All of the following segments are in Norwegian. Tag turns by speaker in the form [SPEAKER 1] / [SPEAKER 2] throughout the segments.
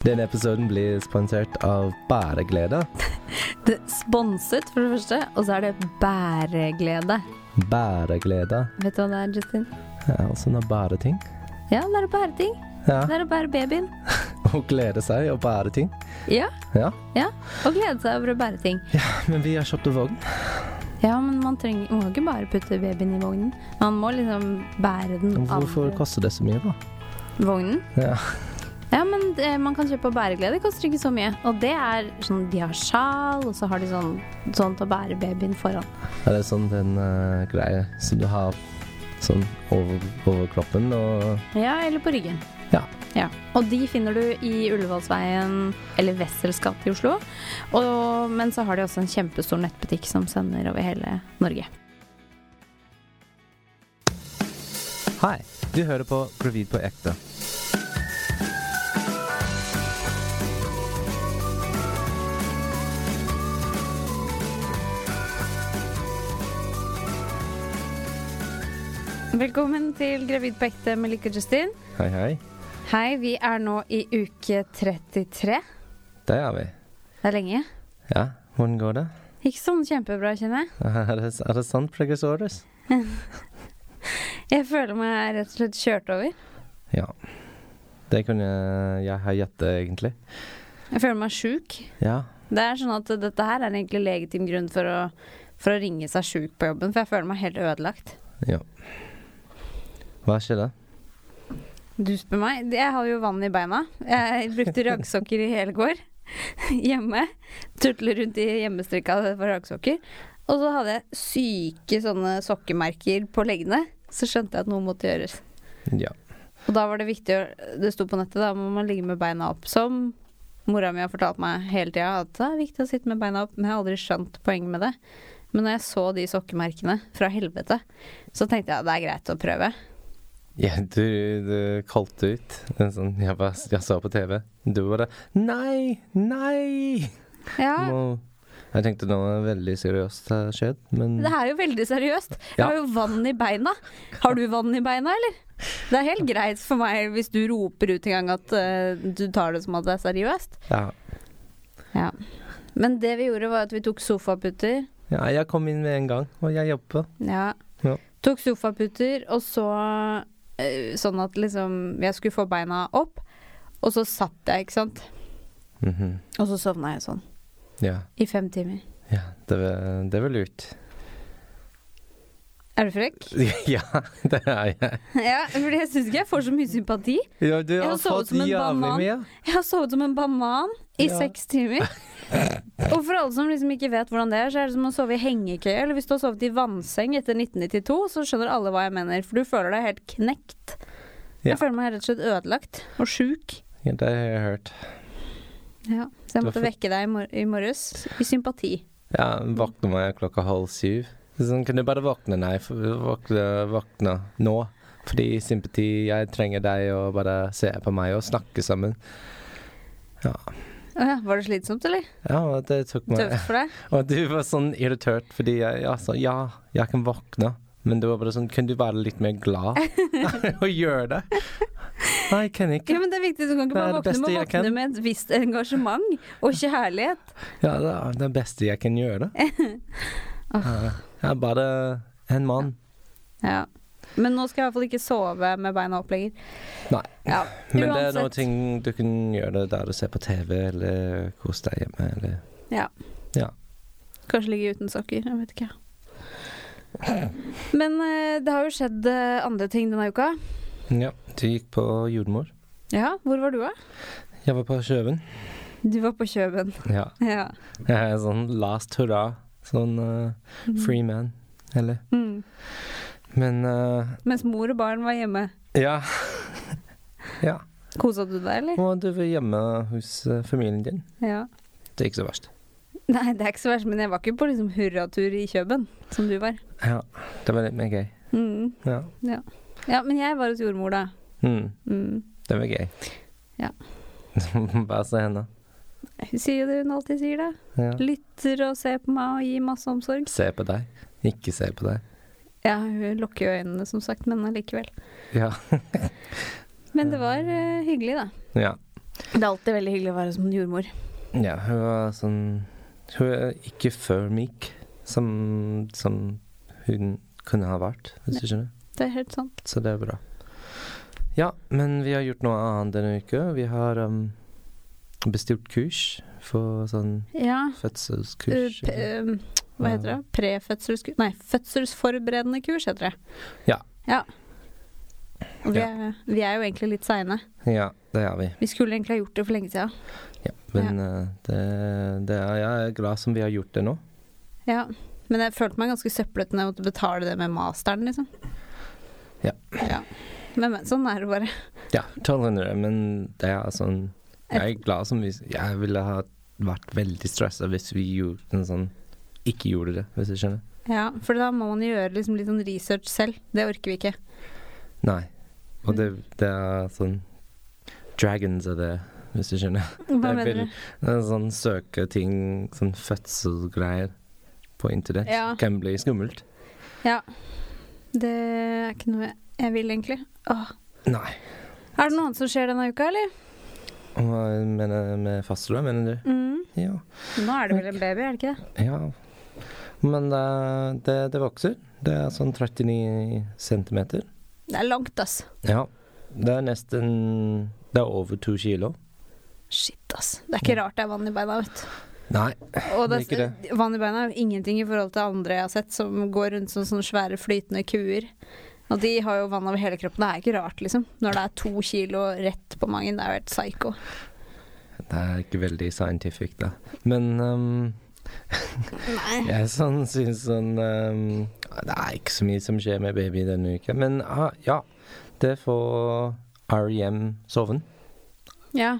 [SPEAKER 1] Denne episoden blir sponsert av Bæreglede.
[SPEAKER 2] Det er Sponset, for det første, og så er det bæreglede.
[SPEAKER 1] Bæreglede
[SPEAKER 2] Vet du hva det er, Justin?
[SPEAKER 1] er også noe bæreting.
[SPEAKER 2] Ja, det er å bære ting.
[SPEAKER 1] Ja.
[SPEAKER 2] Det er å bære babyen.
[SPEAKER 1] Å glede seg og bære ting.
[SPEAKER 2] Ja,
[SPEAKER 1] Ja.
[SPEAKER 2] ja. Og glede seg over å bære ting.
[SPEAKER 1] Men vi har kjøpt en vogn.
[SPEAKER 2] Ja, men man trenger Man kan ikke bare putte babyen i vognen. Man må liksom bære den
[SPEAKER 1] Hvorfor koster det så mye, da?
[SPEAKER 2] vognen.
[SPEAKER 1] Ja.
[SPEAKER 2] Ja, men det, man kan kjøpe bæreglede. Det koster ikke så mye. Og det er sånn De har sjal, og så har de sånn sånn til å bære babyen foran.
[SPEAKER 1] Er det sånn den eh, greie som du har sånn over, over kroppen og
[SPEAKER 2] Ja, eller på ryggen.
[SPEAKER 1] Ja.
[SPEAKER 2] Ja. Og de finner du i Ullevålsveien eller Wessels gate i Oslo. Og, men så har de også en kjempestor nettbutikk som sender over hele Norge.
[SPEAKER 1] Hei, du hører på Gravid på ekte.
[SPEAKER 2] Velkommen til Gravid på ekte med Lykke og Justin.
[SPEAKER 1] Hei, hei.
[SPEAKER 2] Hei, vi er nå i uke 33.
[SPEAKER 1] Der er vi.
[SPEAKER 2] Det er lenge.
[SPEAKER 1] Ja, hvordan går det?
[SPEAKER 2] Ikke sånn kjempebra, kjenner jeg.
[SPEAKER 1] Er det, er det sant, Preggers Orders?
[SPEAKER 2] Jeg føler meg rett og slett kjørt over.
[SPEAKER 1] Ja. Det kunne jeg ha gjettet, egentlig.
[SPEAKER 2] Jeg føler meg sjuk.
[SPEAKER 1] Ja.
[SPEAKER 2] Det er sånn at dette her er egentlig legitim grunn for å, for å ringe seg sjuk på jobben, for jeg føler meg helt ødelagt.
[SPEAKER 1] ja. Hva skjedde?
[SPEAKER 2] Du spør meg. Jeg har jo vann i beina. Jeg brukte raggsokker i hele går hjemme. Turtle rundt i hjemmestrikka for raggsokker. Og så hadde jeg syke sånne sokkemerker på leggene. Så skjønte jeg at noe måtte gjøres.
[SPEAKER 1] Ja.
[SPEAKER 2] Og da var det viktig å Det sto på nettet, da må man ligge med beina opp. Som mora mi har fortalt meg hele tida, at det er viktig å sitte med beina opp. Men jeg har aldri skjønt poenget med det. Men når jeg så de sokkemerkene fra helvete, så tenkte jeg at det er greit å prøve.
[SPEAKER 1] Ja, du, du kalte ut en sånn jeg, bare, jeg så på TV. Du bare Nei! Nei!
[SPEAKER 2] Ja,
[SPEAKER 1] Nå, jeg tenkte noe veldig seriøst har skjedd, men
[SPEAKER 2] Det er jo veldig seriøst.
[SPEAKER 1] Mm.
[SPEAKER 2] Jeg
[SPEAKER 1] Ja.
[SPEAKER 2] har jo vann i beina. Har du vann i beina, eller? Det er helt greit for meg hvis du roper ut en gang at eh, du tar det som at det er seriøst.
[SPEAKER 1] ja.
[SPEAKER 2] Ja. Men det vi gjorde, var at vi tok sofaputer.
[SPEAKER 1] ja. Jeg kom inn med en gang, og jeg jobber.
[SPEAKER 2] Ja.
[SPEAKER 1] Ja.
[SPEAKER 2] Tok sofaputer, og så eh, sånn at liksom jeg skulle få beina opp. Og så satt jeg, ikke sant.
[SPEAKER 1] Mhm.
[SPEAKER 2] Og så sovna jeg sånn
[SPEAKER 1] Ja.
[SPEAKER 2] i fem timer.
[SPEAKER 1] ja det, var, det var lurt.
[SPEAKER 2] Er du frekk?
[SPEAKER 1] ja, det er jeg.
[SPEAKER 2] ja, for jeg syns ikke jeg får så mye sympati.
[SPEAKER 1] Ja, du
[SPEAKER 2] Jeg
[SPEAKER 1] har
[SPEAKER 2] så ut
[SPEAKER 1] fått
[SPEAKER 2] som en
[SPEAKER 1] jævlig
[SPEAKER 2] banan.
[SPEAKER 1] mye.
[SPEAKER 2] Jeg har sovet som en banan i
[SPEAKER 1] Ja.
[SPEAKER 2] seks timer. Og for alle som liksom ikke vet hvordan det er, så er det som å sove i hengekøye. Eller hvis du har sovet i vannseng etter 1992, så skjønner alle hva jeg mener. For du føler deg helt knekt.
[SPEAKER 1] Ja.
[SPEAKER 2] Jeg føler meg rett og slett ødelagt og sjuk.
[SPEAKER 1] Ja, det har jeg hørt.
[SPEAKER 2] Ja. Så
[SPEAKER 1] Du
[SPEAKER 2] jeg
[SPEAKER 1] har
[SPEAKER 2] måtte
[SPEAKER 1] fått-
[SPEAKER 2] vekke deg i, mor i morges i sympati.
[SPEAKER 1] Ja, våkner meg klokka halv syv. Sånn, kan du bare våkne? Nei, for- våkne, våkne nå. Fordi sympati, jeg trenger deg å bare se på meg og snakke sammen.
[SPEAKER 2] Å ja, var det slitsomt, eller?
[SPEAKER 1] Ja, og det tok meg
[SPEAKER 2] Tøft for deg?
[SPEAKER 1] Og du var sånn irritert fordi jeg jeg sa ja, jeg kan våkne. Men du var bare sånn Kunne du være litt mer glad og gjøre det? Nei, jeg kan
[SPEAKER 2] Ja,
[SPEAKER 1] ikke.
[SPEAKER 2] men det er viktig. Du kan ikke
[SPEAKER 1] Det er
[SPEAKER 2] bare
[SPEAKER 1] det
[SPEAKER 2] våkne,
[SPEAKER 1] beste
[SPEAKER 2] men
[SPEAKER 1] jeg kan.
[SPEAKER 2] våkne med et visst engasjement og kjærlighet.
[SPEAKER 1] Ja, det er det beste jeg kan gjøre. Ja, Jeg er bare en mann.
[SPEAKER 2] Ja. Men nå skal jeg i hvert fall ikke sove med beina opp lenger.
[SPEAKER 1] Nei.
[SPEAKER 2] Ja,
[SPEAKER 1] Men det er noen
[SPEAKER 2] uansett.
[SPEAKER 1] ting du kan gjøre der du ser på TV, eller kose deg hjemme, eller
[SPEAKER 2] Ja.
[SPEAKER 1] Ja.
[SPEAKER 2] Kanskje ligge uten sokker. Jeg vet ikke. Men eh, det har jo skjedd eh, andre ting denne uka.
[SPEAKER 1] Ja, du gikk på jordmor.
[SPEAKER 2] Ja, hvor var du, da?
[SPEAKER 1] Jeg var på Kjøven.
[SPEAKER 2] Du var på Kjøben.
[SPEAKER 1] Ja.
[SPEAKER 2] Ja.
[SPEAKER 1] Jeg er sånn last hurra. Sånn eh,
[SPEAKER 2] Mhm.
[SPEAKER 1] free man, eller
[SPEAKER 2] Mm.
[SPEAKER 1] Men eh,
[SPEAKER 2] Mens mor og barn var hjemme.
[SPEAKER 1] ja. ja.
[SPEAKER 2] Kosa du deg, eller?
[SPEAKER 1] Og du var hjemme hos eh, familien din.
[SPEAKER 2] Ja.
[SPEAKER 1] Det er ikke så verst.
[SPEAKER 2] Nei, det er ikke så verst, men jeg var ikke på liksom hurratur i Kjøben, som du var.
[SPEAKER 1] Ja, det var litt mer gøy.
[SPEAKER 2] Mm.
[SPEAKER 1] Ja.
[SPEAKER 2] Ja, men jeg var hos jordmor, da.
[SPEAKER 1] Mm,
[SPEAKER 2] Mm.
[SPEAKER 1] det var gøy.
[SPEAKER 2] Ja.
[SPEAKER 1] Bare se henne.
[SPEAKER 2] Hun sier jo det hun alltid sier, da.
[SPEAKER 1] Ja.
[SPEAKER 2] Lytter og ser på meg og gir masse omsorg.
[SPEAKER 1] Se på deg. Ikke se på deg.
[SPEAKER 2] Ja, hun lukker jo øynene, som sagt, men allikevel.
[SPEAKER 1] Ja.
[SPEAKER 2] Men det var eh, hyggelig, da.
[SPEAKER 1] Ja.
[SPEAKER 2] Det er alltid veldig hyggelig å være som en jordmor.
[SPEAKER 1] Ja, hun var sånn Hun er ikke for myk som, som hun kunne ha vært, hvis du skjønner.
[SPEAKER 2] Det er helt sant.
[SPEAKER 1] Så det er bra. Ja, men vi har gjort noe annet denne uka. Vi har um, bestilt kurs for sånn
[SPEAKER 2] Ja. Uh,
[SPEAKER 1] fødselskurs.
[SPEAKER 2] p-
[SPEAKER 1] eller-
[SPEAKER 2] um, hva heter det? Prefødselskurs Nei, fødselsforberedende kurs heter det.
[SPEAKER 1] Ja.
[SPEAKER 2] ja. Og vi, er, vi er jo egentlig litt seine.
[SPEAKER 1] Ja, det har vi.
[SPEAKER 2] Vi skulle egentlig ha gjort det for lenge siden.
[SPEAKER 1] Ja, men eh, det, det er, jeg er glad som vi har gjort det nå.
[SPEAKER 2] Ja. Men jeg følte meg ganske søppelete når jeg måtte betale det med masteren, liksom.
[SPEAKER 1] Ja.
[SPEAKER 2] ja. Men, men sånn er det bare.
[SPEAKER 1] Ja, 1200, men det er sånn Jeg er glad som vi Jeg ville ha vært veldig stressa hvis vi gjorde en sånn Ikke gjorde det, hvis du skjønner.
[SPEAKER 2] Ja, For da må man gjøre liksom litt sånn research selv. Det orker vi ikke.
[SPEAKER 1] Nei. Og det, det er sånn Dragons er det, hvis du skjønner.
[SPEAKER 2] Hva
[SPEAKER 1] er
[SPEAKER 2] mener du?
[SPEAKER 1] veldig- Det er sånn søketing, sånn fødselsgreier på internett.
[SPEAKER 2] Ja.
[SPEAKER 1] Kan bli skummelt.
[SPEAKER 2] Ja. Det er ikke noe jeg, jeg vil, egentlig. Åh.
[SPEAKER 1] Nei.
[SPEAKER 2] Er det noe annet som skjer denne uka, eller?
[SPEAKER 1] Og Hva mener du med faststue, mener du?
[SPEAKER 2] Mm.
[SPEAKER 1] Ja.
[SPEAKER 2] Nå er det vel en baby, er det ikke det?
[SPEAKER 1] ja. Men eh, det, det, det vokser. Det er sånn 39 centimeter.
[SPEAKER 2] Det er langt, ass.
[SPEAKER 1] Ja. Det er nesten Det er over to kilo.
[SPEAKER 2] Shit, ass. Det er ikke rart det er vann i beina, vet du.
[SPEAKER 1] Nei.
[SPEAKER 2] Og det,
[SPEAKER 1] Det er ikke
[SPEAKER 2] vann i beina er jo ingenting i forhold til andre jeg har sett som går rundt som sånne svære flytende kuer. Og de har jo vann over hele kroppen. Det er ikke rart, liksom. Når det er to kilo rett på magen. Det er jo helt psycho.
[SPEAKER 1] Det er ikke veldig scientific, da. Men ehm,
[SPEAKER 2] Nei.
[SPEAKER 1] jeg sånn, syns sånn ehm, Det er ikke så mye som skjer med baby denne uka. Men ah, ja, det får REM soven.
[SPEAKER 2] Ja.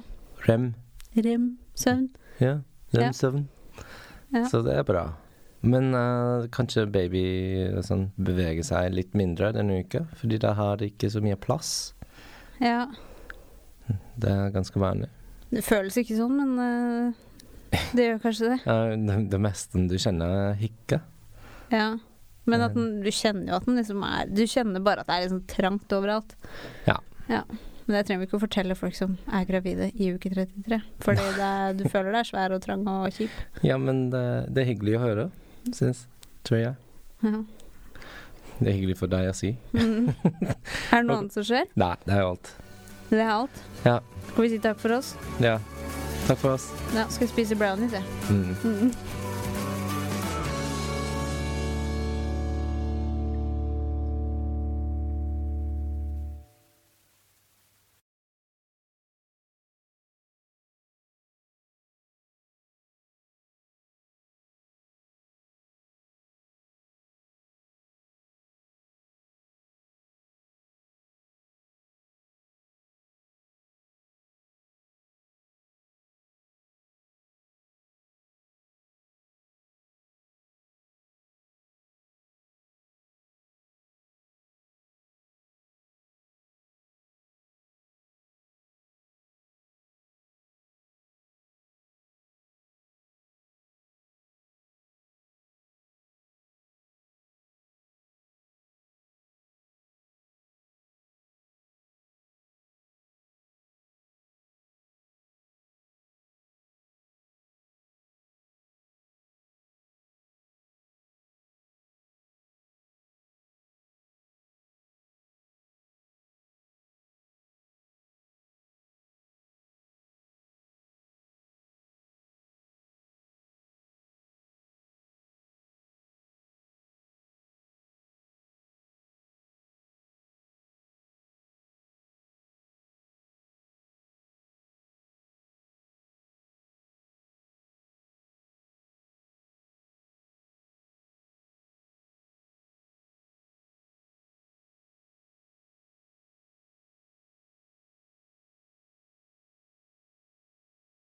[SPEAKER 1] REM.
[SPEAKER 2] Rem, søvn.
[SPEAKER 1] Ja.
[SPEAKER 2] Ja.
[SPEAKER 1] REM soven.
[SPEAKER 2] Ja.
[SPEAKER 1] Så det er bra. Men eh, kanskje baby eh, sånn, beveger seg litt mindre denne uka, fordi da har det ikke så mye plass.
[SPEAKER 2] Ja.
[SPEAKER 1] Det er ganske vanlig.
[SPEAKER 2] Det føles ikke sånn, men eh, det gjør kanskje det.
[SPEAKER 1] Ja, det, det meste du kjenner er hikke.
[SPEAKER 2] Ja. Men
[SPEAKER 1] Eh.
[SPEAKER 2] at den, du kjenner jo at den liksom er Du kjenner bare at det er liksom trangt overalt.
[SPEAKER 1] Ja.
[SPEAKER 2] Men det trenger vi ikke å fortelle folk som er gravide i uke 33. Fordi det er, du føler deg svær og trang og kjip.
[SPEAKER 1] Ja, men det, det er hyggelig å høre, syns tror jeg.
[SPEAKER 2] Ja.
[SPEAKER 1] Det er hyggelig for deg å si.
[SPEAKER 2] Mm. Er det noe annet som skjer?
[SPEAKER 1] Nei, det er jo alt.
[SPEAKER 2] Det er alt.
[SPEAKER 1] Ja.
[SPEAKER 2] Skal vi si takk for oss?
[SPEAKER 1] Ja. Takk for oss.
[SPEAKER 2] Ja, skal jeg spise brownies, jeg.
[SPEAKER 1] Mm.
[SPEAKER 2] Mm.